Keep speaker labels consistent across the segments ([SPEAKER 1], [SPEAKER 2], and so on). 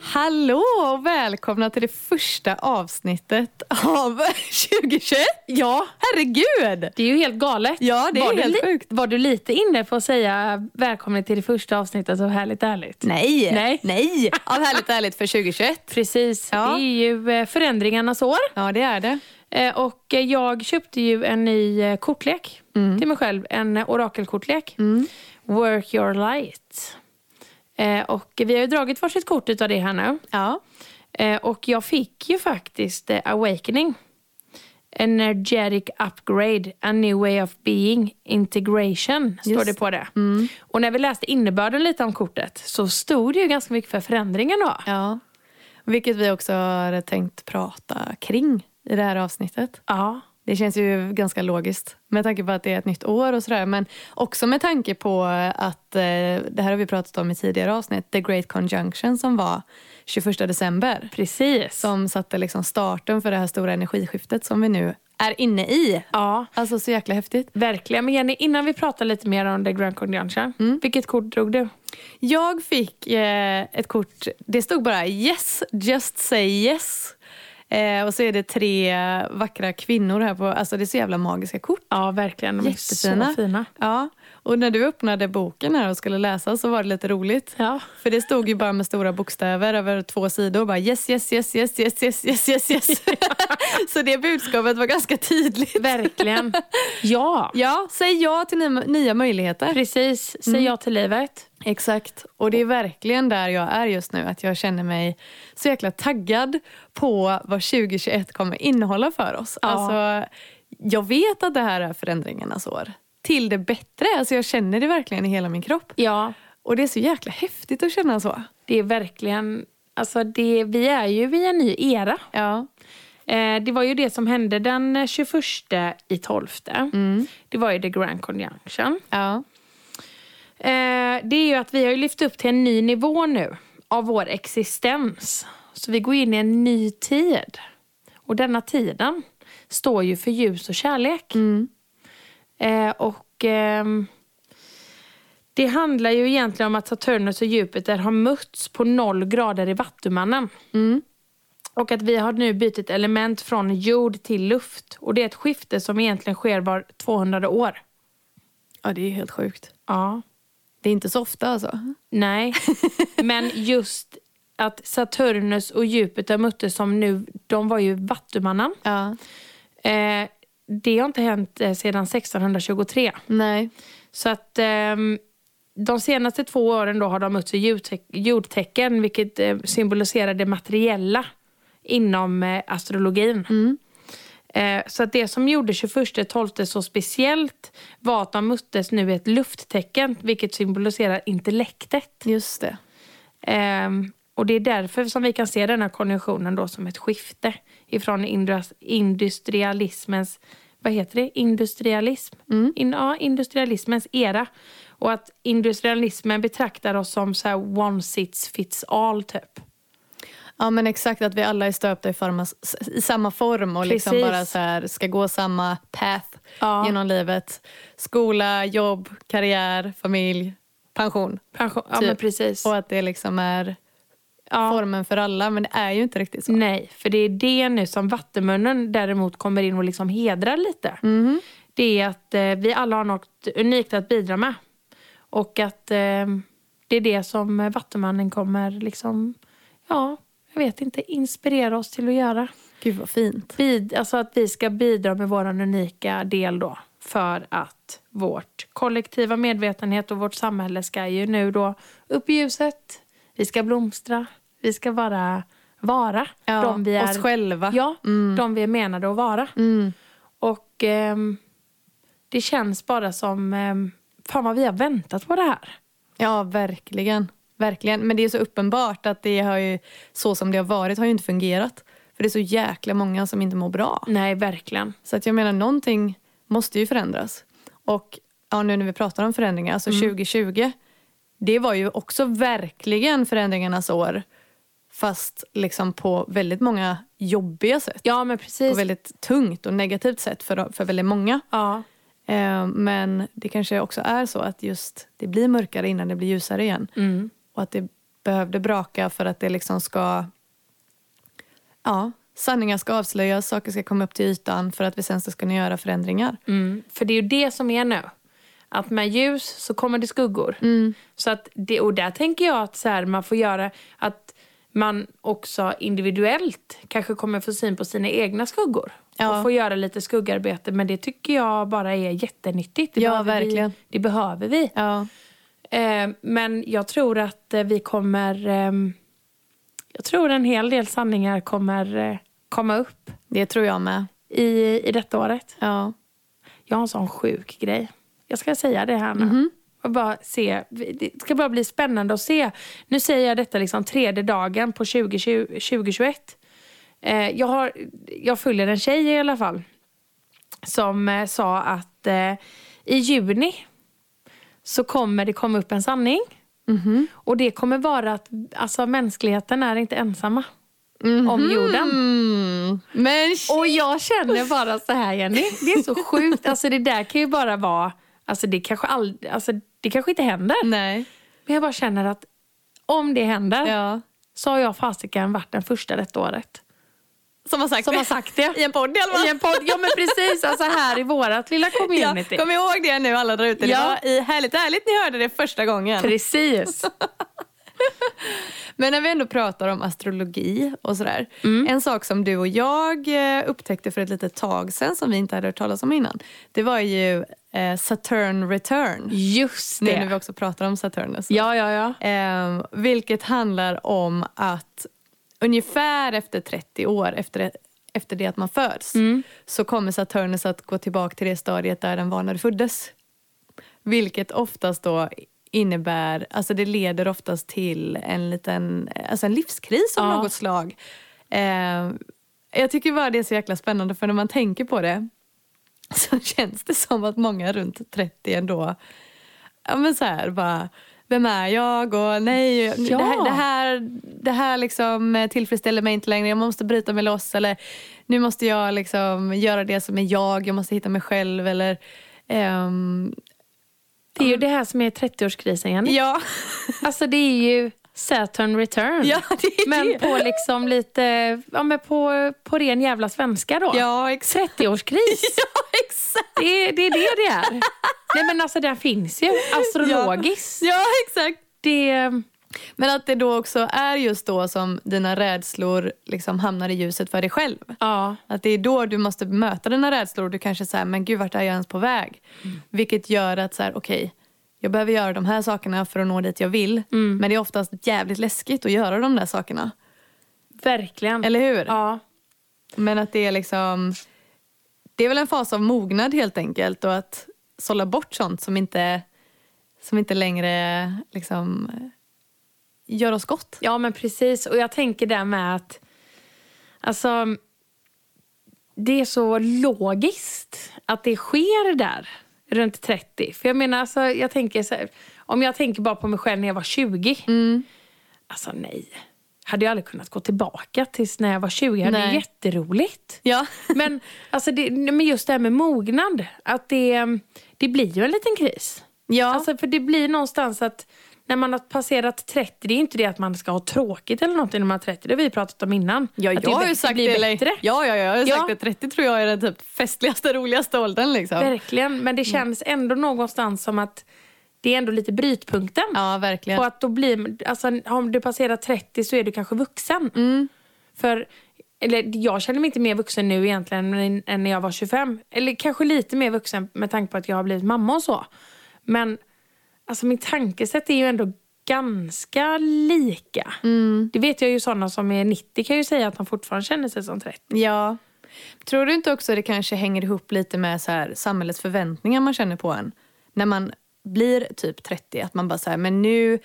[SPEAKER 1] Hallå och välkomna till det första avsnittet av 2021.
[SPEAKER 2] Ja,
[SPEAKER 1] Herregud!
[SPEAKER 2] det är ju helt galet.
[SPEAKER 1] Ja, det är
[SPEAKER 2] var
[SPEAKER 1] helt
[SPEAKER 2] du li-
[SPEAKER 1] sjukt.
[SPEAKER 2] Var du lite inne på att säga välkommen till det första avsnittet av Härligt ärligt?
[SPEAKER 1] Nej,
[SPEAKER 2] Nej.
[SPEAKER 1] nej. Av härligt ärligt för 2021.
[SPEAKER 2] Precis,
[SPEAKER 1] Ja.
[SPEAKER 2] det är ju eh, förändringarnas år.
[SPEAKER 1] Ja, det är det.
[SPEAKER 2] Eh, Och eh, jag köpte ju en ny eh, kortlek
[SPEAKER 1] Mm.
[SPEAKER 2] till mig själv. En eh, orakelkortlek. Work your light. Eh, Och vi har ju dragit varsitt kort utav det här nu.
[SPEAKER 1] Ja.
[SPEAKER 2] Eh, Och jag fick ju faktiskt eh, Awakening. Energetic upgrade, a new way of being, integration, står
[SPEAKER 1] Just
[SPEAKER 2] det på det. Och när vi läste innebörden lite om kortet så stod det ju ganska mycket för förändringen då.
[SPEAKER 1] ja. Vilket vi också har tänkt prata kring i det här avsnittet.
[SPEAKER 2] Ja,
[SPEAKER 1] Det känns ju ganska logiskt med tanke på att det är ett nytt år och sådär. Men också med tanke på att, eh, det här har vi pratat om i tidigare avsnitt, The Great Conjunction som var 21 december.
[SPEAKER 2] precis.
[SPEAKER 1] Som satte liksom starten för det här stora energiskiftet som vi nu är inne i.
[SPEAKER 2] Ja,
[SPEAKER 1] Alltså så jäkla häftigt.
[SPEAKER 2] verkligen. Men Jenny, innan vi pratar lite mer om The Grand Conjunction, vilket kort drog du?
[SPEAKER 1] Jag fick eh, ett kort, det stod bara yes, just say yes. Eh, och så är det tre vackra kvinnor här på, alltså det är så jävla magiska kort.
[SPEAKER 2] Ja, verkligen. De är
[SPEAKER 1] Jättefina.
[SPEAKER 2] så fina.
[SPEAKER 1] Ja, och när du öppnade boken här och skulle läsa så var det lite roligt.
[SPEAKER 2] Ja.
[SPEAKER 1] För det stod ju bara med stora bokstäver över två sidor. Bara yes, yes, yes, yes, yes, yes, yes, yes, yes. så det budskapet var ganska tydligt.
[SPEAKER 2] Verkligen. Ja,
[SPEAKER 1] Ja, säg ja till nya, nya möjligheter.
[SPEAKER 2] precis. Säg ja till livet.
[SPEAKER 1] Exakt. Och det är verkligen där jag är just nu. Att jag känner mig så jäkla taggad på vad 2021 kommer innehålla för oss.
[SPEAKER 2] Ja.
[SPEAKER 1] Alltså, jag vet att det här är förändringarnas år. Till det bättre. Alltså, jag känner det verkligen i hela min kropp.
[SPEAKER 2] Ja,
[SPEAKER 1] Och det är så jäkla häftigt att känna så.
[SPEAKER 2] Det är verkligen... Alltså det, vi är ju i en ny era.
[SPEAKER 1] Ja.
[SPEAKER 2] Eh, det var ju det som hände den 21 i 12. Det var ju The Grand Conjunction.
[SPEAKER 1] Ja.
[SPEAKER 2] Eh, det är ju att vi har ju lyft upp till en ny nivå nu av vår existens. Så vi går in i en ny tid. Och denna tiden står ju för ljus och kärlek.
[SPEAKER 1] Mm.
[SPEAKER 2] Eh, och ehm, det handlar ju egentligen om att Saturnus och Jupiter har mötts på noll grader i Vattumannen. Och att vi har nu bytt ett element från jord till luft. Och det är ett skifte som egentligen sker var 200 år.
[SPEAKER 1] ja, det är helt sjukt.
[SPEAKER 2] Ja.
[SPEAKER 1] Det är inte så ofta alltså.
[SPEAKER 2] Nej, men just att Saturnus och Jupiter möttes som nu, de var ju Vattumannen.
[SPEAKER 1] Ja.
[SPEAKER 2] Eh, det har inte hänt eh, sedan 1623.
[SPEAKER 1] Nej.
[SPEAKER 2] Så att ehm, de senaste två åren då har de mötts i jordte- jordtecken, vilket eh, symboliserar det materiella inom eh, astrologin. Eh, så att det som gjorde 21-12 så speciellt var att de möttes nu i ett lufttecken, vilket symboliserar intellektet.
[SPEAKER 1] Just det.
[SPEAKER 2] Ehm, och det är därför som vi kan se den här konjunktionen då som ett skifte ifrån indras- industrialismens, vad heter det, industrialism? In, ja, industrialismens era. Och att industrialismen betraktar oss som så här one size fits all typ.
[SPEAKER 1] Ja men exakt att vi alla är stöpta i, forma, i samma form och liksom
[SPEAKER 2] Precis.
[SPEAKER 1] bara så här, ska gå samma path
[SPEAKER 2] Ja.
[SPEAKER 1] genom livet. Skola, jobb, karriär, familj, pension.
[SPEAKER 2] Pension, ja
[SPEAKER 1] Typ.
[SPEAKER 2] men precis.
[SPEAKER 1] Och att det liksom är formen för alla men det är ju inte riktigt så.
[SPEAKER 2] Nej, för det är det nu som Vattenmunnen däremot kommer in och liksom hedrar lite. Det är att eh, vi alla har något unikt att bidra med. Och att eh, det är det som eh, Vattenmannen kommer liksom, ja, jag vet inte, inspirera oss till att göra.
[SPEAKER 1] Gud vad fint.
[SPEAKER 2] Bid, alltså att vi ska bidra med vår unika del då för att vårt kollektiva medvetenhet och vårt samhälle ska ju nu då upp i ljuset. Vi ska blomstra. Vi ska bara vara
[SPEAKER 1] Ja,
[SPEAKER 2] de vi är.
[SPEAKER 1] Oss själva. Mm.
[SPEAKER 2] Ja, de vi är menade att vara. Och ehm, det känns bara som, ehm, fan vad vi har väntat på det här.
[SPEAKER 1] Ja, verkligen. verkligen. Men det är så uppenbart att det har ju, så som det har varit har ju inte fungerat. För det är så jäkla många som inte mår bra.
[SPEAKER 2] Nej, verkligen.
[SPEAKER 1] Så att jag menar, någonting måste ju förändras. Och ja, nu när vi pratar om förändringar, alltså
[SPEAKER 2] Mm.
[SPEAKER 1] 2020, det var ju också verkligen förändringarnas år. Fast liksom på väldigt många jobbiga sätt.
[SPEAKER 2] Ja, men
[SPEAKER 1] På
[SPEAKER 2] precis.
[SPEAKER 1] väldigt tungt och negativt sätt för, för väldigt många.
[SPEAKER 2] Ja,
[SPEAKER 1] Eh, Mm. Men det kanske också är så att just det blir mörkare innan det blir ljusare igen. Och att det behövde braka för att det liksom ska... Ja, sanningar ska avslöjas, saker ska komma upp till ytan för att vi sen ska kunna göra förändringar.
[SPEAKER 2] Mm. För det är ju det som är nu. Att med ljus så kommer det skuggor.
[SPEAKER 1] Mm.
[SPEAKER 2] Så att det, och där tänker jag att så här, man får göra att man också individuellt kanske kommer få syn på sina egna skuggor.
[SPEAKER 1] Ja.
[SPEAKER 2] Och få göra lite skuggarbete. Men det tycker jag bara är jättenyttigt. Det
[SPEAKER 1] Ja,
[SPEAKER 2] behöver
[SPEAKER 1] verkligen.
[SPEAKER 2] Vi, det behöver vi.
[SPEAKER 1] Ja,
[SPEAKER 2] Eh, men jag tror att eh, vi kommer... ehm, jag tror en hel del sanningar kommer eh, komma upp
[SPEAKER 1] det tror jag med.
[SPEAKER 2] i, i detta året.
[SPEAKER 1] Ja.
[SPEAKER 2] Jag har en sån sjuk grej. Jag ska säga det här nu. Och bara se. Det ska bara bli spännande att se. Nu säger jag detta liksom tredje dagen på 2020, 2021. Eh, jag, har, jag följer en tjej i alla fall som eh, sa att eh, i juni så kommer det komma upp en sanning. Och det kommer vara att alltså, mänskligheten är inte ensamma om jorden.
[SPEAKER 1] Mm. Men
[SPEAKER 2] Och jag känner bara så här Jenny, det är så sjukt. Alltså det där kan ju bara vara, alltså det kanske, ald- alltså, det kanske inte händer.
[SPEAKER 1] Nej.
[SPEAKER 2] Men jag bara känner att om det händer
[SPEAKER 1] Ja.
[SPEAKER 2] så har jag fasiken varit den första detta året.
[SPEAKER 1] Som har sagt
[SPEAKER 2] Som
[SPEAKER 1] det.
[SPEAKER 2] har sagt det.
[SPEAKER 1] I en podd i alla fall.
[SPEAKER 2] I en podd, ja men precis, alltså här i vårat lilla community.
[SPEAKER 1] Ja, kom ihåg det nu alla där ute.
[SPEAKER 2] Ja.
[SPEAKER 1] Det var i Härligt ärligt ni hörde det första gången.
[SPEAKER 2] Precis.
[SPEAKER 1] Men när vi ändå pratar om astrologi och sådär. En sak som du och jag eh, upptäckte för ett litet tag sedan som vi inte hade hört talas om innan. Det var ju eh, Saturn return.
[SPEAKER 2] Just
[SPEAKER 1] Nu när vi
[SPEAKER 2] det.
[SPEAKER 1] också pratar om Saturnus.
[SPEAKER 2] Ja, ja, ja.
[SPEAKER 1] Eh, vilket handlar om att ungefär efter 30 år efter, efter det att man föds
[SPEAKER 2] Mm.
[SPEAKER 1] så kommer Saturnus att gå tillbaka till det stadiet där den var när du föddes. Vilket oftast då innebär, alltså det leder oftast till en liten, alltså en livskris av
[SPEAKER 2] Ja.
[SPEAKER 1] något slag. Eh, jag tycker bara det är så jäkla spännande för när man tänker på det så känns det som att många runt 30 ändå, ja men så här bara, vem är jag och nej, det, här, det, här, det här liksom eh, tillfredsställer mig inte längre, jag måste bryta mig loss eller nu måste jag liksom göra det som är jag, jag måste hitta mig själv eller ehm,
[SPEAKER 2] Det är ju det här som är 30-årskrisen Jenny.
[SPEAKER 1] ja.
[SPEAKER 2] Alltså det är ju Saturn return.
[SPEAKER 1] ja, det är
[SPEAKER 2] Men
[SPEAKER 1] det.
[SPEAKER 2] på liksom lite, ja men på, på ren jävla svenska då.
[SPEAKER 1] Ja, exakt.
[SPEAKER 2] 30-årskris.
[SPEAKER 1] Ja, exakt.
[SPEAKER 2] Det, är- det är det det är. Nej men alltså den finns ju. Astrologiskt.
[SPEAKER 1] Ja, exakt.
[SPEAKER 2] Det,
[SPEAKER 1] Men att det då också är just då som dina rädslor liksom hamnar i ljuset för dig själv.
[SPEAKER 2] ja.
[SPEAKER 1] Att det är då du måste möta dina rädslor. Du kanske säger, men gud vart är jag ens på väg? Vilket gör att så här, okej, jag behöver göra de här sakerna för att nå dit jag vill. Men det är oftast jävligt läskigt att göra de där sakerna.
[SPEAKER 2] Verkligen.
[SPEAKER 1] Eller hur?
[SPEAKER 2] Ja.
[SPEAKER 1] Men att det är liksom, det är väl en fas av mognad helt enkelt. Och att sålla bort sånt som inte, som inte längre liksom gör oss gott.
[SPEAKER 2] ja men precis. Och jag tänker där med att alltså, det är så logiskt att det sker där runt 30. För jag menar, alltså, jag tänker så här, om jag tänker bara på mig själv när jag var 20.
[SPEAKER 1] Mm.
[SPEAKER 2] Alltså nej. Hade jag aldrig kunnat gå tillbaka tills när jag var 20. Jag hade
[SPEAKER 1] Nej.
[SPEAKER 2] ju jätteroligt.
[SPEAKER 1] Ja.
[SPEAKER 2] Men, alltså det, men just det här med mognad, att det, det blir ju en liten kris.
[SPEAKER 1] Ja.
[SPEAKER 2] Alltså för det blir någonstans att när man har passerat 30, det är inte det att man ska ha tråkigt eller någonting när man har 30, det har vi pratat om innan.
[SPEAKER 1] Ja,
[SPEAKER 2] att
[SPEAKER 1] jag har ju sagt
[SPEAKER 2] blir
[SPEAKER 1] det.
[SPEAKER 2] bättre.
[SPEAKER 1] eller- Ja, ja, ja, jag har ju
[SPEAKER 2] Ja.
[SPEAKER 1] sagt det. 30 tror jag är den typ festligaste, roligaste åldern. Liksom.
[SPEAKER 2] Verkligen, men det känns ändå någonstans som att det är ändå lite brytpunkten.
[SPEAKER 1] Ja, verkligen.
[SPEAKER 2] På att då blir, alltså, om du passerar 30 så är du kanske vuxen. För, eller jag känner mig inte mer vuxen nu egentligen än- än när jag var 25. Eller kanske lite mer vuxen med tanke på att jag har blivit mamma och så. Men alltså mitt tankesätt är ju ändå ganska lika. Det vet jag ju sådana som är 90 kan ju säga att de fortfarande känner sig som 30.
[SPEAKER 1] Ja. Tror du inte också det kanske hänger ihop lite med så här, samhällets förväntningar man känner på en? När man blir typ 30, att man bara så här, men nu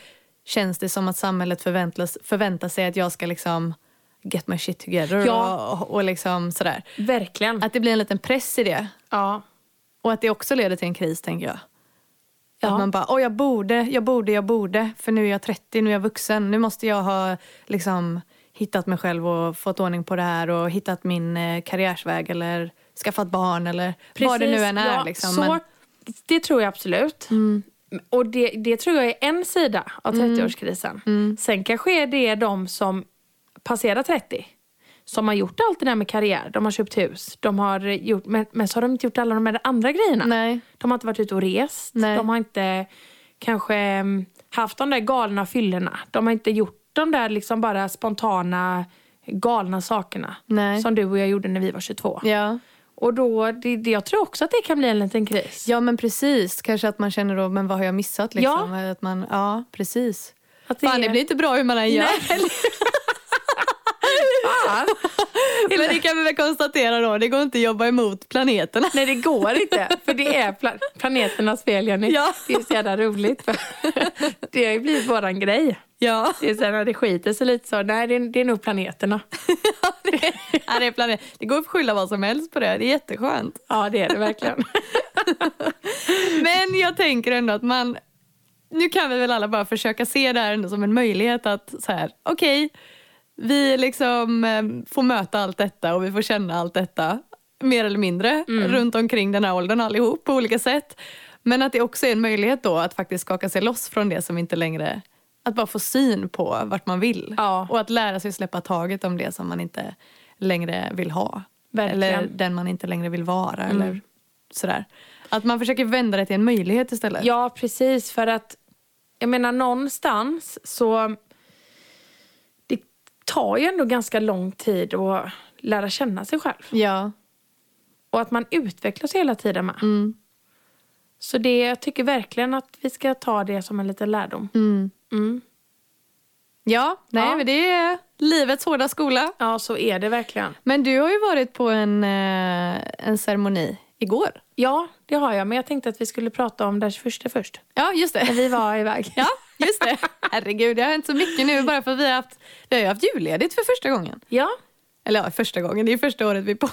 [SPEAKER 1] känns det som att samhället förväntas, förväntar sig att jag ska liksom get my shit together
[SPEAKER 2] Ja.
[SPEAKER 1] och, och liksom sådär.
[SPEAKER 2] Verkligen.
[SPEAKER 1] Att det blir en liten press i det.
[SPEAKER 2] Ja.
[SPEAKER 1] Och att det också leder till en kris, tänker jag. Att
[SPEAKER 2] Ja.
[SPEAKER 1] man bara, åh jag borde, jag borde, jag borde. För nu är jag 30, nu är jag vuxen. Nu måste jag ha liksom, hittat mig själv och fått ordning på det här och hittat min eh, karriärsväg eller skaffat barn eller vad det nu än är.
[SPEAKER 2] ja,
[SPEAKER 1] liksom.
[SPEAKER 2] så,
[SPEAKER 1] Men, Mm.
[SPEAKER 2] Det tror jag absolut. Och det, det tror jag är en sida av 30-årskrisen.
[SPEAKER 1] Mm.
[SPEAKER 2] Sen kanske är det de som passerar 30 som har gjort allt det där med karriär. De har köpt hus, de har gjort, men, men så har de inte gjort alla de här andra grejerna.
[SPEAKER 1] Nej.
[SPEAKER 2] De har inte varit ute och rest.
[SPEAKER 1] Nej.
[SPEAKER 2] De har inte kanske mm, haft de där galna fyllorna. De har inte gjort de där liksom bara spontana galna sakerna
[SPEAKER 1] Nej.
[SPEAKER 2] som du och jag gjorde när vi var 22.
[SPEAKER 1] Ja.
[SPEAKER 2] Och då, det, det, jag tror också att det kan bli en liten kris.
[SPEAKER 1] ja, men precis. Kanske att man känner då, men vad har jag missat? Liksom? Ja. Att man, ja, precis.
[SPEAKER 2] Att
[SPEAKER 1] Fan, det blir inte bra hur man än gör.
[SPEAKER 2] Fan.
[SPEAKER 1] Men det kan vi väl konstatera då, det går inte att jobba emot planeterna.
[SPEAKER 2] Nej, det går inte. För det är pla- planeternas fel, Jenny.
[SPEAKER 1] Ja.
[SPEAKER 2] Det är så jävla roligt. För det har ju blivit våran grej.
[SPEAKER 1] Ja,
[SPEAKER 2] Det är så här, när det skiter sig lite så, nej det är, det är nog planeterna.
[SPEAKER 1] ja det, är planet. det går att skylla vad som helst på det, det är jätteskönt.
[SPEAKER 2] Ja, det är det verkligen.
[SPEAKER 1] Men jag tänker ändå att man... Nu kan vi väl alla bara försöka se det här ändå som en möjlighet att så här, okej, vi liksom eh, får möta allt detta och vi får känna allt detta mer eller mindre
[SPEAKER 2] Mm.
[SPEAKER 1] runt omkring den här åldern allihop på olika sätt. Men att det också är en möjlighet då att faktiskt skaka sig loss från det som inte längre... Att bara få syn på vart man vill
[SPEAKER 2] Ja.
[SPEAKER 1] och att lära sig släppa taget om det som man inte längre vill ha.
[SPEAKER 2] Verkligen.
[SPEAKER 1] Eller den man inte längre vill vara. Eller sådär. Att man försöker vända det till en möjlighet istället.
[SPEAKER 2] Ja, precis. För att jag menar någonstans så det tar ju ändå ganska lång tid att lära känna sig själv.
[SPEAKER 1] Ja.
[SPEAKER 2] Och att man utvecklas hela tiden med.
[SPEAKER 1] Mm.
[SPEAKER 2] Så det, jag tycker verkligen att vi ska ta det som en liten lärdom.
[SPEAKER 1] Mm.
[SPEAKER 2] Mm.
[SPEAKER 1] Ja, nej,
[SPEAKER 2] Ja.
[SPEAKER 1] men det är livets hårda skola.
[SPEAKER 2] Ja, så är det verkligen.
[SPEAKER 1] Men du har ju varit på en, eh, en ceremoni igår.
[SPEAKER 2] Ja, det har jag. Men jag tänkte att vi skulle prata om den första först.
[SPEAKER 1] Ja, just
[SPEAKER 2] När
[SPEAKER 1] det.
[SPEAKER 2] vi var iväg.
[SPEAKER 1] Ja, just det. Herregud, det har hänt så mycket nu bara för att vi har haft, vi har ju haft julledigt för första gången.
[SPEAKER 2] Ja.
[SPEAKER 1] Eller ja, första gången, det är ju första året vi är på.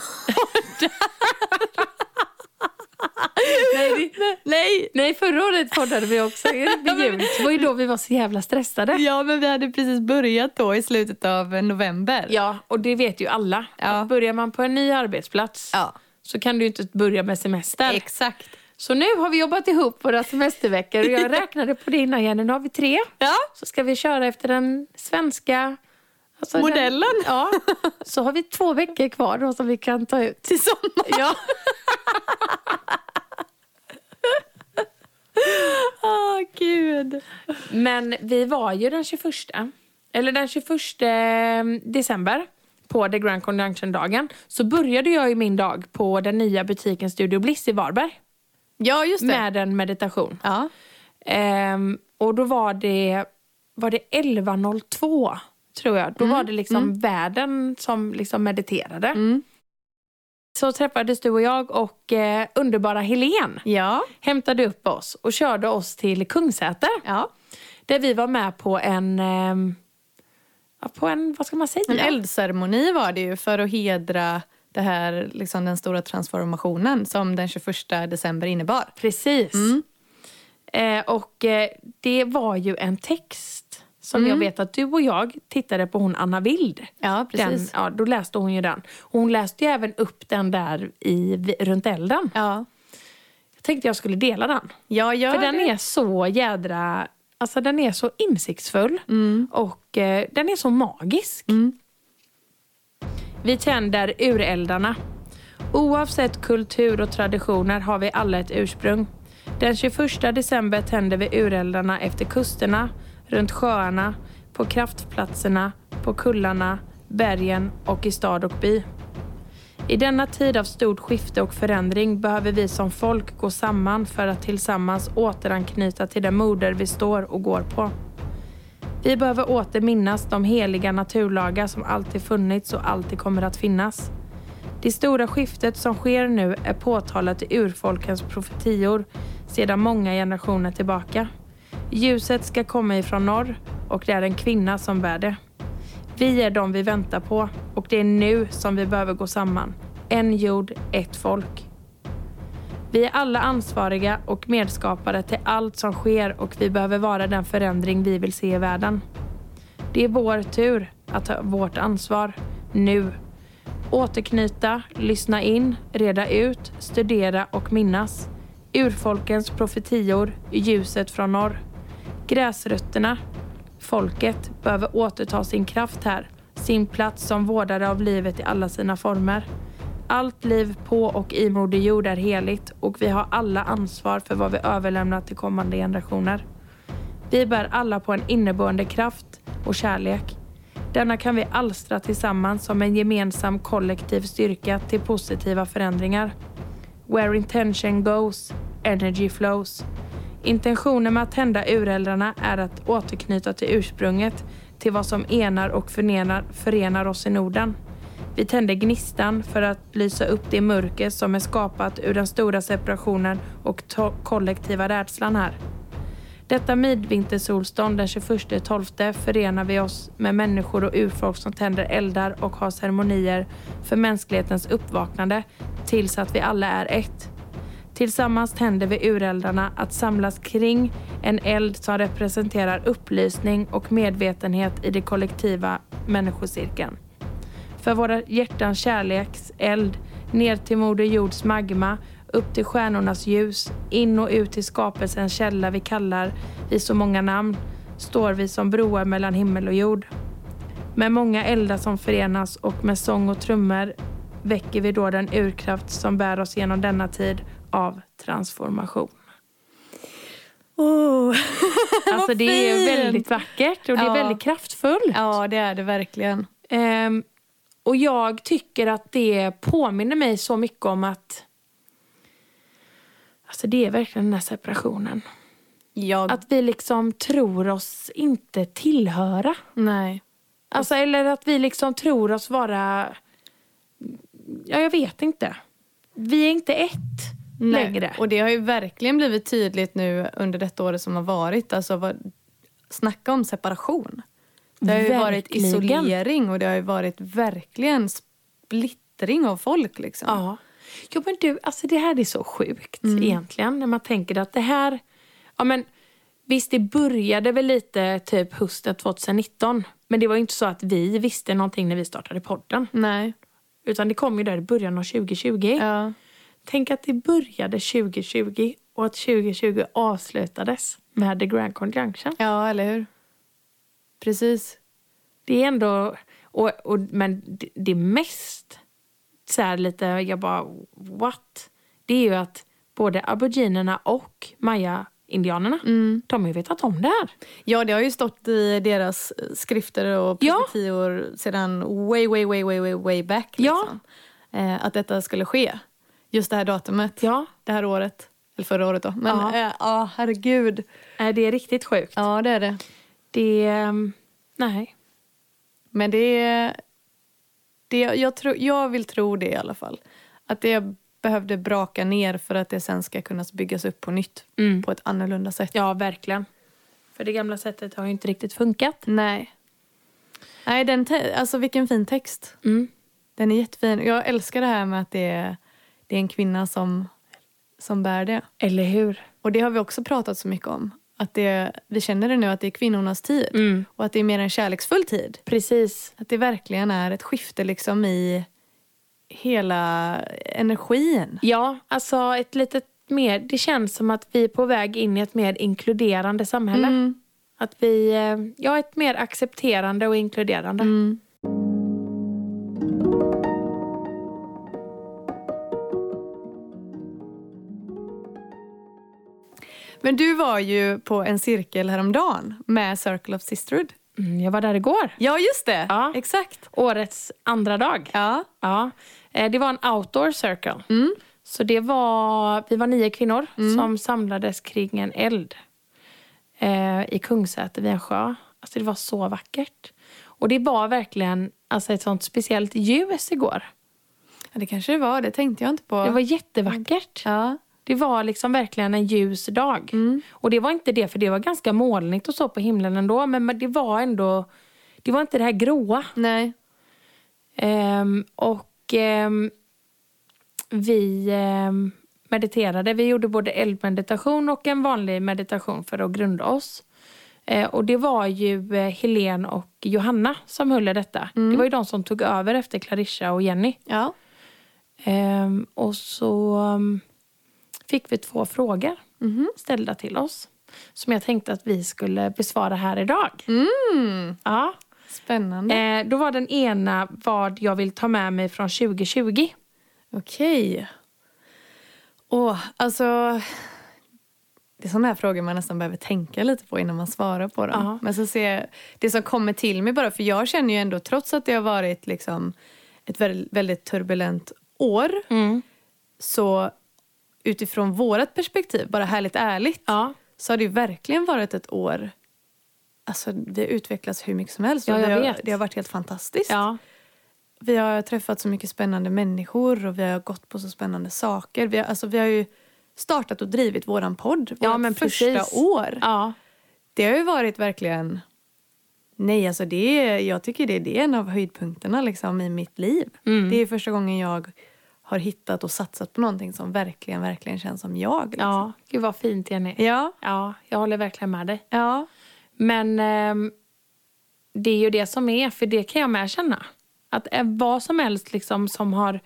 [SPEAKER 2] Nej, det,
[SPEAKER 1] Nej!
[SPEAKER 2] nej, förra året poddade vi också. Vid jul. Det var ju då vi var så jävla stressade.
[SPEAKER 1] Ja, men vi hade precis börjat då i slutet av eh, november.
[SPEAKER 2] Ja, och det vet ju alla.
[SPEAKER 1] Ja.
[SPEAKER 2] Att börjar man på en ny arbetsplats
[SPEAKER 1] Ja.
[SPEAKER 2] så kan du ju inte börja med semester.
[SPEAKER 1] Exakt.
[SPEAKER 2] så nu har vi jobbat ihop våra semesterveckor och jag räknade på det innan Jenny. Nu har vi tre.
[SPEAKER 1] Ja,
[SPEAKER 2] Så ska vi köra efter den svenska alltså
[SPEAKER 1] modellen
[SPEAKER 2] Den, ja, så har vi två veckor kvar då som vi kan ta ut.
[SPEAKER 1] till sommar.
[SPEAKER 2] Ja,
[SPEAKER 1] Åh, gud.
[SPEAKER 2] men vi var ju den 21, eller den 21 december på The Grand Conjunction-dagen så började jag ju min dag på den nya butiken Studio Bliss i Varberg
[SPEAKER 1] Ja, just det.
[SPEAKER 2] med en meditation.
[SPEAKER 1] Ja.
[SPEAKER 2] Ehm, och då var det, var det 11.02 tror jag. Då var det liksom världen som liksom mediterade.
[SPEAKER 1] Mm.
[SPEAKER 2] Så träffades du och jag och eh, underbara Helen
[SPEAKER 1] Ja.
[SPEAKER 2] hämtade upp oss och körde oss till Kungsäter.
[SPEAKER 1] ja.
[SPEAKER 2] Där vi var med på en, ehm, ja, på en vad ska man säga?
[SPEAKER 1] En eldceremoni var det ju för att hedra det här, liksom den stora transformationen som den 21 december innebar.
[SPEAKER 2] Precis.
[SPEAKER 1] Mm.
[SPEAKER 2] Eh, och eh, det var ju en text som
[SPEAKER 1] Mm.
[SPEAKER 2] jag vet att du och jag tittade på hon Anna Wild.
[SPEAKER 1] Ja,
[SPEAKER 2] Den, ja, då läste hon ju den. Hon läste ju även upp den där i, runt elden.
[SPEAKER 1] Ja,
[SPEAKER 2] Jag tänkte jag skulle dela den.
[SPEAKER 1] ja gör
[SPEAKER 2] För den
[SPEAKER 1] det.
[SPEAKER 2] är så jädra... Alltså den är så insiktsfull
[SPEAKER 1] Mm.
[SPEAKER 2] och eh, den är så magisk. Vi tänder ureldarna. Oavsett kultur och traditioner har vi alla ett ursprung. Den 21 december tänder vi ureldarna efter kusterna, runt sjöarna, på kraftplatserna, på kullarna, bergen och i stad och by. I denna tid av stort skifte och förändring behöver vi som folk gå samman för att tillsammans återanknyta till den moder vi står och går på. Vi behöver återminnas de heliga naturlagar som alltid funnits och alltid kommer att finnas. Det stora skiftet som sker nu är påtalat i urfolkens profetior sedan många generationer tillbaka. Ljuset ska komma ifrån norr och det är en kvinna som bär det. Vi är de vi väntar på och det är nu som vi behöver gå samman. En jord, ett folk. Vi är alla ansvariga och medskapare till allt som sker och vi behöver vara den förändring vi vill se i världen. Det är vår tur att ta vårt ansvar. Nu. Återknyta, lyssna in, reda ut, studera och minnas. urfolkens profetior i ljuset från norr. Gräsrötterna, folket, behöver återta sin kraft här. Sin plats som vårdare av livet i alla sina former. Allt liv på och i Moder Jord är heligt och vi har alla ansvar för vad vi överlämnar till kommande generationer. Vi bär alla på en inneboende kraft och kärlek. Denna kan vi alstra tillsammans som en gemensam kollektiv styrka till positiva förändringar. Where intention goes, energy flows. Intentionen med att tända ureldarna är att återknyta till ursprunget, till vad som enar och förenar, förenar oss i Norden. Vi tänder gnistan för att lysa upp det mörker som är skapat ur den stora separationen och to- kollektiva rädslan här. Detta midvintersolstånd den 21.12 förenar vi oss med människor och urfolk som tänder eldar och har ceremonier för mänsklighetens uppvaknande tills att vi alla är ett. Tillsammans tänder vi ureldarna att samlas kring en eld som representerar upplysning och medvetenhet i det kollektiva människocirkeln. För våra hjärtans kärleks eld, ner till Moder Jords magma, upp till stjärnornas ljus, in och ut till skapelsens källa vi kallar i så många namn, står vi som broar mellan himmel och jord. Med många eldar som förenas och med sång och trummor väcker vi då den urkraft som bär oss genom denna tid av transformation.
[SPEAKER 1] Oh.
[SPEAKER 2] Alltså det är
[SPEAKER 1] fint!
[SPEAKER 2] väldigt vackert och det
[SPEAKER 1] Ja.
[SPEAKER 2] är väldigt kraftfullt.
[SPEAKER 1] Ja, det är det verkligen.
[SPEAKER 2] Ehm, och jag tycker att det påminner mig så mycket om att... Alltså det är verkligen den här separationen.
[SPEAKER 1] Jag...
[SPEAKER 2] Att vi liksom tror oss inte tillhöra.
[SPEAKER 1] Nej.
[SPEAKER 2] Alltså eller att vi liksom tror oss vara... Ja, jag vet inte. Vi är inte ett längre.
[SPEAKER 1] Och det har ju verkligen blivit tydligt nu under detta året som har varit. Alltså, vad, snacka om separation. Det har ju varit
[SPEAKER 2] Verkligen.
[SPEAKER 1] isolering och det har ju varit verkligen splittring av folk. Liksom.
[SPEAKER 2] Ja. Jo, men du, alltså det här är så sjukt egentligen. När man tänker att det här... Ja, men visst, det började väl lite typ hösten 2019. Men det var ju inte så att vi visste någonting när vi startade podden.
[SPEAKER 1] Nej.
[SPEAKER 2] Utan det kom ju där i början av 2020.
[SPEAKER 1] Ja.
[SPEAKER 2] Tänk att det började 2020 och att 2020 avslutades med The Grand Conjunction.
[SPEAKER 1] ja, eller hur? Precis.
[SPEAKER 2] Det är ändå... Och, och, men det, det mest så här lite, jag bara what? Det är ju att både aboriginerna och maya-indianerna, de har ju vetat om det här.
[SPEAKER 1] Ja, det har ju stått i deras skrifter och
[SPEAKER 2] Ja.
[SPEAKER 1] profetior sedan way, way, way, way, way, way back.
[SPEAKER 2] Ja.
[SPEAKER 1] Liksom. Eh, att detta skulle ske. Just det här datumet.
[SPEAKER 2] Ja.
[SPEAKER 1] Det här året. Eller förra året då. Men
[SPEAKER 2] Ja.
[SPEAKER 1] ja, eh, ja, herregud.
[SPEAKER 2] Äh, Det är riktigt sjukt.
[SPEAKER 1] Ja, det är det.
[SPEAKER 2] Det, ehm, nej.
[SPEAKER 1] Men det... det jag, tror jag vill tro det i alla fall. Att det behövde braka ner för att det sen ska kunna byggas upp på nytt.
[SPEAKER 2] Mm.
[SPEAKER 1] På ett annorlunda sätt.
[SPEAKER 2] Ja, verkligen. För det gamla sättet har ju inte riktigt funkat.
[SPEAKER 1] Nej. Nej, den te- alltså vilken fin text.
[SPEAKER 2] Mm.
[SPEAKER 1] Den är jättefin. Jag älskar det här med att det är, det är en kvinna som, som bär det.
[SPEAKER 2] Eller hur?
[SPEAKER 1] Och det har vi också pratat så mycket om. Att det, vi känner det nu att det är kvinnornas tid.
[SPEAKER 2] Mm.
[SPEAKER 1] Och att det är mer en kärleksfull tid.
[SPEAKER 2] Precis.
[SPEAKER 1] Att det verkligen är ett skifte liksom i hela energin.
[SPEAKER 2] Ja, alltså ett litet mer... Det känns som att vi är på väg in i ett mer inkluderande samhälle.
[SPEAKER 1] Mm.
[SPEAKER 2] Att vi... eh, Ja, ett mer accepterande och inkluderande.
[SPEAKER 1] Mm. Men du var ju på en cirkel häromdagen med Circle of Sisterhood.
[SPEAKER 2] Mm, jag var där igår.
[SPEAKER 1] Ja, just det.
[SPEAKER 2] Ja.
[SPEAKER 1] Exakt.
[SPEAKER 2] Årets andra dag.
[SPEAKER 1] Ja.
[SPEAKER 2] Ja. Eh, Det var en outdoor circle.
[SPEAKER 1] Mm.
[SPEAKER 2] Så det var... Vi var nio kvinnor som samlades kring en eld eh, i Kungsäter vid en sjö. Alltså det var så vackert. Och det var verkligen alltså ett sånt speciellt ljus igår.
[SPEAKER 1] ja, det kanske det var. Det tänkte jag inte på.
[SPEAKER 2] Det var jättevackert.
[SPEAKER 1] ja.
[SPEAKER 2] Det var liksom verkligen en ljus dag. Och det var inte det, för det var ganska molnigt och så på himlen ändå. Men det var ändå, det var inte det här gråa.
[SPEAKER 1] Nej.
[SPEAKER 2] Ehm, och ehm, vi ehm, mediterade. Vi gjorde både eldmeditation och en vanlig meditation för att grunda oss. Eh, och det var ju eh, Helen och Johanna som höll i detta. Det var ju de som tog över efter Clarissa och Jenny.
[SPEAKER 1] Ja.
[SPEAKER 2] Ehm, och så ehm, fick vi två frågor ställda till oss som jag tänkte att vi skulle besvara här idag. Ja.
[SPEAKER 1] Spännande.
[SPEAKER 2] Eh, då var den ena vad jag vill ta med mig från 2020.
[SPEAKER 1] Okej. Åh, alltså... Det är sådana här frågor man nästan behöver tänka lite på innan man svarar på dem.
[SPEAKER 2] Ja.
[SPEAKER 1] Men så ser jag det som kommer till mig bara, för jag känner ju ändå trots att det har varit liksom ett väl- väldigt turbulent år, så utifrån vårt perspektiv, bara härligt ärligt,
[SPEAKER 2] Ja.
[SPEAKER 1] så har det ju verkligen varit ett år Alltså, vi har utvecklats hur mycket som helst.
[SPEAKER 2] Ja,
[SPEAKER 1] och
[SPEAKER 2] jag
[SPEAKER 1] det, har,
[SPEAKER 2] vet.
[SPEAKER 1] det har varit helt fantastiskt.
[SPEAKER 2] Ja.
[SPEAKER 1] Vi har träffat så mycket spännande människor och vi har gått på så spännande saker. Vi har, alltså, vi har ju startat och drivit våran podd
[SPEAKER 2] Ja,
[SPEAKER 1] vårt
[SPEAKER 2] men
[SPEAKER 1] första
[SPEAKER 2] precis.
[SPEAKER 1] år.
[SPEAKER 2] Ja.
[SPEAKER 1] Det har ju varit verkligen... Nej, alltså det är, jag tycker det, det är en av höjdpunkterna liksom, i mitt liv.
[SPEAKER 2] Mm.
[SPEAKER 1] Det är första gången jag har hittat och satsat på någonting som verkligen, verkligen känns som jag. Liksom.
[SPEAKER 2] ja. Gud vad fint Jenny.
[SPEAKER 1] Ja.
[SPEAKER 2] Ja, jag håller verkligen med dig.
[SPEAKER 1] Ja.
[SPEAKER 2] Men ehm, det är ju det som är, för det kan jag med känna. Att eh, vad som helst liksom som har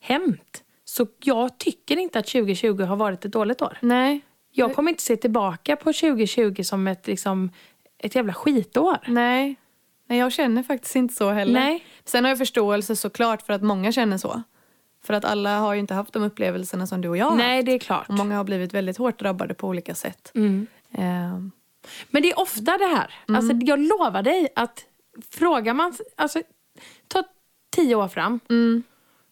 [SPEAKER 2] hänt. Så jag tycker inte att 2020 har varit ett dåligt år.
[SPEAKER 1] Nej.
[SPEAKER 2] Jag kommer inte se tillbaka på 2020 som ett, liksom, ett jävla skitår.
[SPEAKER 1] Nej. Nej, jag känner faktiskt inte så heller.
[SPEAKER 2] Nej.
[SPEAKER 1] Sen har jag förståelse såklart för att många känner så. För att alla har ju inte haft de upplevelserna som du och jag har
[SPEAKER 2] Nej, det är klart.
[SPEAKER 1] Och många har blivit väldigt hårt drabbade på olika sätt.
[SPEAKER 2] Mm.
[SPEAKER 1] Ehm,
[SPEAKER 2] Men det är ofta det här. Alltså, jag lovar dig att frågar man... Alltså, ta tio år fram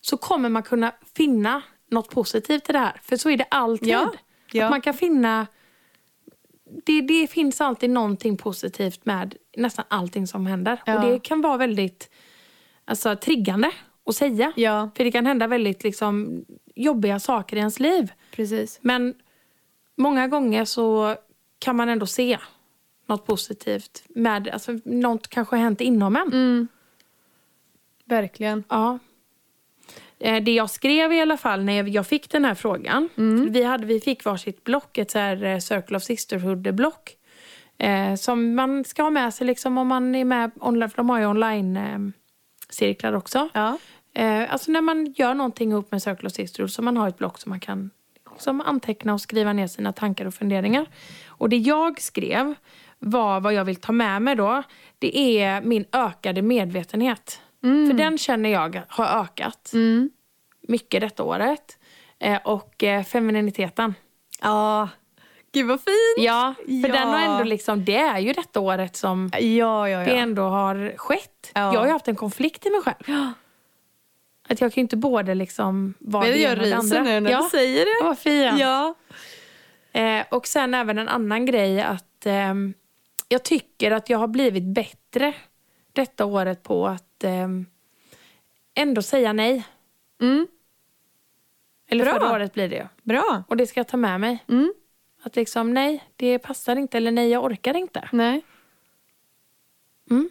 [SPEAKER 2] så kommer man kunna finna något positivt i det här. För så är det alltid.
[SPEAKER 1] Ja, ja.
[SPEAKER 2] Att man kan finna... Det, det finns alltid någonting positivt med nästan allting som händer.
[SPEAKER 1] Ja.
[SPEAKER 2] Och det kan vara väldigt alltså, triggande att säga.
[SPEAKER 1] ja,
[SPEAKER 2] För det kan hända väldigt liksom, jobbiga saker i ens liv.
[SPEAKER 1] precis.
[SPEAKER 2] Men många gånger så kan man ändå se något positivt. Med, alltså, något kanske har hänt inom en.
[SPEAKER 1] Verkligen.
[SPEAKER 2] Ja. Eh, Det jag skrev i alla fall när jag fick den här frågan. Vi, hade, vi fick varsitt block, ett så här eh, Circle of Sisterhood-block. Eh, som man ska ha med sig liksom om man är med online, för de har ju online-cirklar också.
[SPEAKER 1] Ja.
[SPEAKER 2] Eh, alltså när man gör någonting ihop med Circle of Sisterhood så man har ett block som man kan liksom anteckna och skriva ner sina tankar och funderingar. Och det jag skrev var vad jag vill ta med mig då. Det är min ökade medvetenhet. För den känner jag har ökat mycket detta året. Eh, och eh, femininiteten.
[SPEAKER 1] Ja. Gud vad fint!
[SPEAKER 2] Ja, för
[SPEAKER 1] Ja.
[SPEAKER 2] den har ändå liksom, det är ju detta året som
[SPEAKER 1] Ja, ja, ja.
[SPEAKER 2] det ändå har skett.
[SPEAKER 1] Ja.
[SPEAKER 2] Jag har ju haft en konflikt i mig själv. Att jag kan ju inte både liksom vara
[SPEAKER 1] Men
[SPEAKER 2] det
[SPEAKER 1] det gör
[SPEAKER 2] ena och det andra.
[SPEAKER 1] ryser nu när
[SPEAKER 2] ja.
[SPEAKER 1] du säger det.
[SPEAKER 2] Vad fin.
[SPEAKER 1] Ja.
[SPEAKER 2] Eh, och sen även en annan grej att ehm, jag tycker att jag har blivit bättre detta året på att ehm, ändå säga nej.
[SPEAKER 1] Mm.
[SPEAKER 2] Eller
[SPEAKER 1] Bra.
[SPEAKER 2] förra året blir det ju.
[SPEAKER 1] Bra.
[SPEAKER 2] Och det ska jag ta med mig.
[SPEAKER 1] Mm.
[SPEAKER 2] Att liksom nej, det passar inte eller nej, jag orkar inte.
[SPEAKER 1] Nej.
[SPEAKER 2] Mm.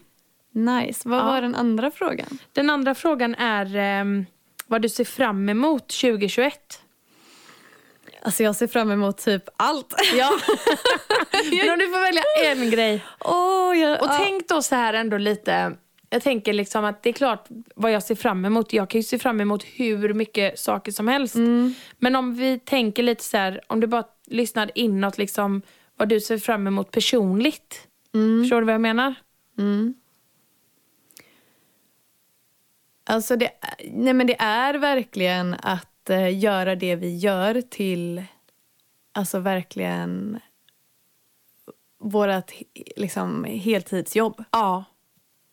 [SPEAKER 1] Nice. Vad
[SPEAKER 2] Ja.
[SPEAKER 1] var den andra frågan?
[SPEAKER 2] Den andra frågan är ehm, vad du ser fram emot 2021.
[SPEAKER 1] Alltså jag ser fram emot typ allt.
[SPEAKER 2] Ja. Men om du får välja en grej.
[SPEAKER 1] Oh, jag,
[SPEAKER 2] Och
[SPEAKER 1] ja.
[SPEAKER 2] tänk då så här ändå lite. Jag tänker liksom att det är klart vad jag ser fram emot. Jag kan ju se fram emot hur mycket saker som helst.
[SPEAKER 1] Mm.
[SPEAKER 2] Men om vi tänker lite så här, om du bara lyssnar inåt liksom vad du ser fram emot personligt.
[SPEAKER 1] Mm.
[SPEAKER 2] Förstår du vad jag menar?
[SPEAKER 1] Alltså det, nej men det är verkligen att eh, göra det vi gör till alltså verkligen vårt liksom, heltidsjobb.
[SPEAKER 2] Ja.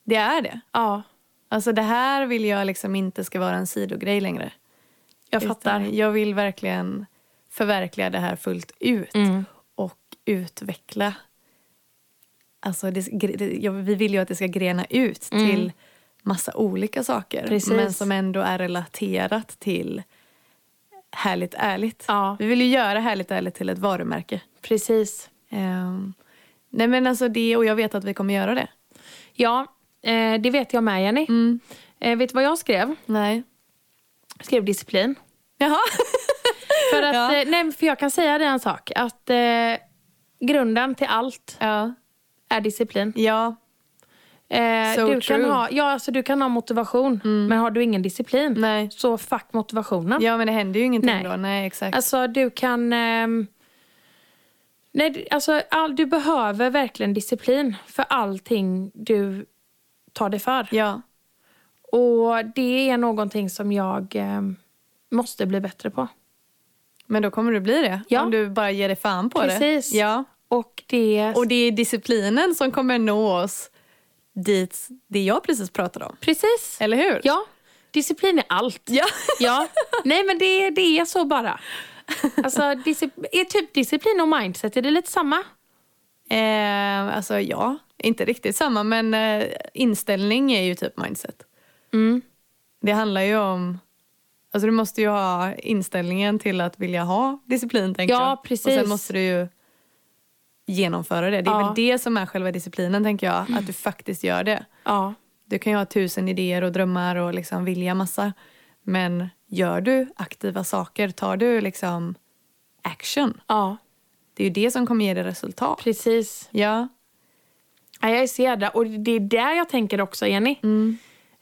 [SPEAKER 1] Det är det.
[SPEAKER 2] Ja,
[SPEAKER 1] Alltså det här vill jag liksom inte ska vara en sidogrej längre.
[SPEAKER 2] jag fattar.
[SPEAKER 1] Utan jag vill verkligen förverkliga det här fullt ut
[SPEAKER 2] Mm.
[SPEAKER 1] och utveckla. Alltså det, det, jag- vi vill ju att det ska grena ut till massa olika saker
[SPEAKER 2] Mm. Precis.
[SPEAKER 1] men som ändå är relaterat till Härligt ärligt.
[SPEAKER 2] Ja.
[SPEAKER 1] Vi vill ju göra Härligt ärligt till ett varumärke.
[SPEAKER 2] Precis.
[SPEAKER 1] Ehm, nej men alltså det, och jag vet att vi kommer göra det.
[SPEAKER 2] Ja, eh, det vet jag med Jenny.
[SPEAKER 1] Mm.
[SPEAKER 2] Eh, vet du vad jag skrev?
[SPEAKER 1] Nej.
[SPEAKER 2] Jag skrev disciplin.
[SPEAKER 1] Jaha.
[SPEAKER 2] För, att,
[SPEAKER 1] Ja.
[SPEAKER 2] eh, nej, men för jag kan säga dig en sak. Att eh, grunden till allt
[SPEAKER 1] ja.
[SPEAKER 2] är disciplin.
[SPEAKER 1] Ja.
[SPEAKER 2] Eh,
[SPEAKER 1] So
[SPEAKER 2] du, kan
[SPEAKER 1] true. Mm.
[SPEAKER 2] ha, ja, alltså, du kan ha motivation, men har du ingen disciplin
[SPEAKER 1] Nej.
[SPEAKER 2] så fuck motivationen.
[SPEAKER 1] Ja men det händer ju ingenting
[SPEAKER 2] Nej.
[SPEAKER 1] då. Nej exakt.
[SPEAKER 2] Alltså du kan... ehm, nej, du- alltså, all, du behöver verkligen disciplin för allting du tar dig för.
[SPEAKER 1] ja.
[SPEAKER 2] Och det är någonting som jag ehm, måste bli bättre på.
[SPEAKER 1] Men då kommer du bli det.
[SPEAKER 2] Ja.
[SPEAKER 1] Om du bara ger dig fan på det.
[SPEAKER 2] Precis.
[SPEAKER 1] Ja.
[SPEAKER 2] Och det...
[SPEAKER 1] Och det är disciplinen som kommer nå oss dit det jag precis pratade om.
[SPEAKER 2] precis.
[SPEAKER 1] Eller hur?
[SPEAKER 2] Ja. Disciplin är allt.
[SPEAKER 1] Ja.
[SPEAKER 2] Ja. Nej, men det, det är så bara. Alltså, discipl- är typ disciplin och mindset, är det lite samma?
[SPEAKER 1] Eh, alltså ja, inte riktigt samma men eh, inställning är ju typ mindset.
[SPEAKER 2] Mm.
[SPEAKER 1] Det handlar ju om... Alltså du måste ju ha inställningen till att vilja ha disciplin tänker
[SPEAKER 2] Ja,
[SPEAKER 1] jag. Och
[SPEAKER 2] precis.
[SPEAKER 1] sen måste du ju genomföra det. Det är
[SPEAKER 2] Ja. Mm.
[SPEAKER 1] väl det som är själva disciplinen tänker jag, att du faktiskt gör det.
[SPEAKER 2] Ja.
[SPEAKER 1] Du kan ju ha tusen idéer och drömmar och liksom vilja massa. Men gör du aktiva saker, tar du liksom action.
[SPEAKER 2] Ja,
[SPEAKER 1] Det är ju det som kommer ge dig resultat.
[SPEAKER 2] precis.
[SPEAKER 1] Ja,
[SPEAKER 2] Ja, jag är så jädra... Och det är där jag tänker också, Jenny.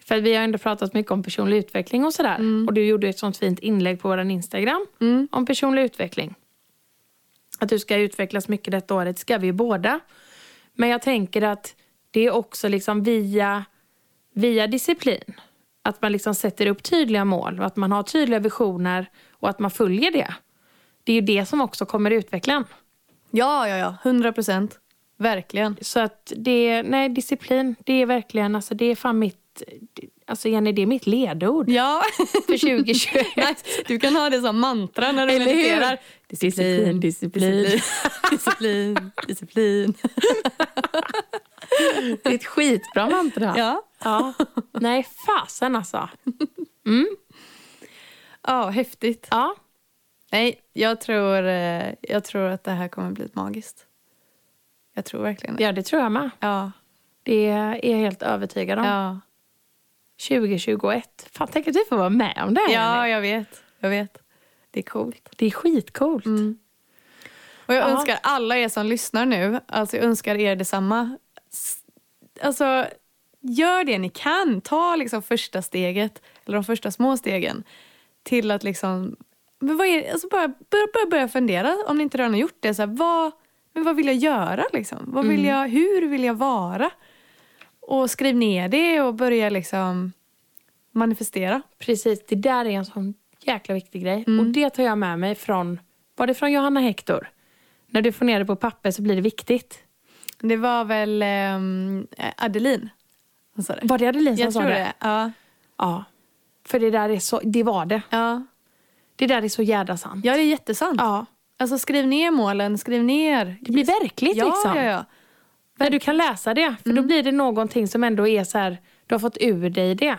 [SPEAKER 2] För att vi har ändå pratat mycket om personlig utveckling och sådär. Och du gjorde ett sånt fint inlägg på vår Instagram om personlig utveckling. Att du ska utvecklas mycket detta året, ska vi ju båda. Men jag tänker att det är också liksom via, via disciplin. Att man liksom sätter upp tydliga mål och att man har tydliga visioner och att man följer det. Det är ju det som också kommer utveckla en.
[SPEAKER 1] ja, ja, ja. 100 procent. Verkligen.
[SPEAKER 2] Så att det, nej disciplin, det är verkligen, alltså det är fan mitt, alltså Jenny det är mitt ledord
[SPEAKER 1] Ja.
[SPEAKER 2] för 2021.
[SPEAKER 1] Nice. Du kan ha det som mantra när du
[SPEAKER 2] Eller hur?
[SPEAKER 1] mediterar.
[SPEAKER 2] Disciplin, disciplin.
[SPEAKER 1] disciplin, disciplin. disciplin.
[SPEAKER 2] det är ett skitbra mantra. Ja.
[SPEAKER 1] Ja.
[SPEAKER 2] Nej fasen alltså.
[SPEAKER 1] ja, häftigt.
[SPEAKER 2] Ja,
[SPEAKER 1] Nej, jag tror, eh, jag tror att det här kommer bli magiskt. Jag tror verkligen det.
[SPEAKER 2] ja det tror jag med.
[SPEAKER 1] Ja.
[SPEAKER 2] Det är jag helt övertygad om.
[SPEAKER 1] Ja,
[SPEAKER 2] 2021, fan tänk att du får vara med om det här, Jenny.
[SPEAKER 1] ja jag vet. Jag vet. Det är coolt.
[SPEAKER 2] Det är skitcoolt.
[SPEAKER 1] Och jag
[SPEAKER 2] Ja.
[SPEAKER 1] önskar alla er som lyssnar nu, alltså jag önskar er detsamma. S- Alltså, gör det ni kan. Ta liksom första steget, eller de första små stegen, till att liksom... Men vad är, alltså bara börja, börja, börja fundera, om ni inte redan har gjort det. Så här, vad, men vad vill jag göra? Liksom? Vad vill
[SPEAKER 2] Mm.
[SPEAKER 1] jag, hur vill jag vara? Och skriv ner det och börja liksom manifestera.
[SPEAKER 2] Precis, det där är en sån jäkla viktig grej. Och det tar jag med mig från, var det från Johanna Hector? När du får ner det på papper så blir det viktigt.
[SPEAKER 1] Det var väl ehm, Adeline som sa det.
[SPEAKER 2] Var det Adeline som
[SPEAKER 1] Jag
[SPEAKER 2] sa
[SPEAKER 1] tror det. Ja.
[SPEAKER 2] Ja. För det där är så, det var det.
[SPEAKER 1] Ja.
[SPEAKER 2] Det där är så jädra sant.
[SPEAKER 1] ja, det är jättesant.
[SPEAKER 2] Ja.
[SPEAKER 1] Alltså skriv ner målen, skriv ner.
[SPEAKER 2] Det blir verkligt
[SPEAKER 1] Ja,
[SPEAKER 2] liksom.
[SPEAKER 1] ja, ja.
[SPEAKER 2] När du kan läsa det. För då blir det någonting som ändå är så här, du har fått ur dig det.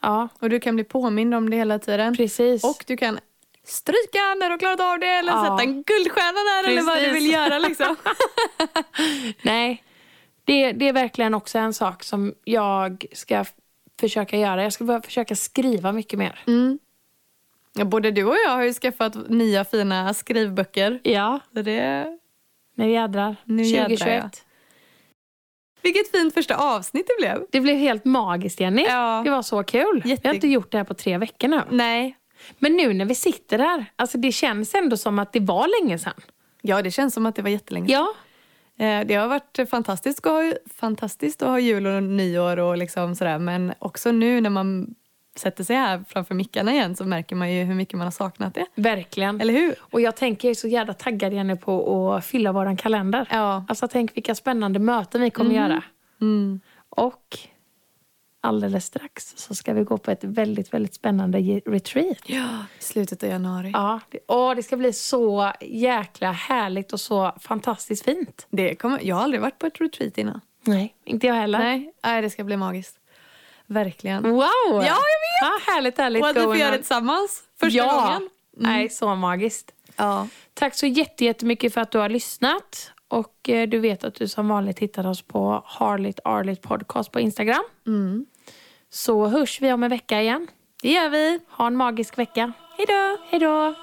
[SPEAKER 2] Ja,
[SPEAKER 1] Och du kan bli påmind om det hela tiden.
[SPEAKER 2] precis.
[SPEAKER 1] Och du kan stryka när du har klarat av det eller
[SPEAKER 2] Ja.
[SPEAKER 1] sätta en guldstjärna där eller vad du
[SPEAKER 2] Precis.
[SPEAKER 1] vill göra liksom.
[SPEAKER 2] Nej, det, det är verkligen också en sak som jag ska f- försöka göra. Jag ska börja försöka skriva mycket mer.
[SPEAKER 1] ja, både du och jag har ju skaffat nya fina skrivböcker.
[SPEAKER 2] Ja,
[SPEAKER 1] Så det...
[SPEAKER 2] nu jädrar.
[SPEAKER 1] Nu jädrar,
[SPEAKER 2] 2021.
[SPEAKER 1] ja. Vilket fint första avsnitt det blev.
[SPEAKER 2] Det blev helt magiskt, Jenny.
[SPEAKER 1] Ja.
[SPEAKER 2] Det var så kul. Vi
[SPEAKER 1] Jätte-
[SPEAKER 2] har inte gjort det här på tre veckor nu.
[SPEAKER 1] Nej.
[SPEAKER 2] Men nu när vi sitter här, alltså det känns ändå som att det var länge sedan.
[SPEAKER 1] Ja, det känns som att det var jättelänge
[SPEAKER 2] Ja,
[SPEAKER 1] Eh, Det har varit fantastiskt, att ha- fantastiskt att ha jul och nyår och liksom sådär. Men också nu när man sätter sig här framför mickarna igen så märker man ju hur mycket man har saknat det.
[SPEAKER 2] verkligen.
[SPEAKER 1] Eller hur?
[SPEAKER 2] Och jag tänker, jag är så jävla taggad Jenny på att fylla våran kalender.
[SPEAKER 1] Ja.
[SPEAKER 2] Alltså tänk vilka spännande möten vi kommer göra.
[SPEAKER 1] Mm.
[SPEAKER 2] Och alldeles strax så ska vi gå på ett väldigt, väldigt spännande ge- retreat.
[SPEAKER 1] Ja, i slutet av januari.
[SPEAKER 2] Ja, det, åh, det ska bli så jäkla härligt och så fantastiskt fint.
[SPEAKER 1] Det kommer, jag har aldrig varit på ett retreat innan.
[SPEAKER 2] Nej, inte jag heller.
[SPEAKER 1] Nej, nej det ska bli magiskt. Verkligen.
[SPEAKER 2] Wow! Ja, jag
[SPEAKER 1] vet.
[SPEAKER 2] härligt, härligt.
[SPEAKER 1] Och att vi får
[SPEAKER 2] going
[SPEAKER 1] göra
[SPEAKER 2] on.
[SPEAKER 1] det tillsammans första
[SPEAKER 2] ja. Mm.
[SPEAKER 1] gången.
[SPEAKER 2] Nej, så magiskt.
[SPEAKER 1] Ja.
[SPEAKER 2] Tack så jätte- jättemycket för att du har lyssnat. Och eh, du vet att du som vanligt hittar oss på Harligt Arligt Podcast på Instagram. Så hörs vi om en vecka igen.
[SPEAKER 1] Det gör vi.
[SPEAKER 2] Ha en magisk vecka.
[SPEAKER 1] Hej då!
[SPEAKER 2] Hej då!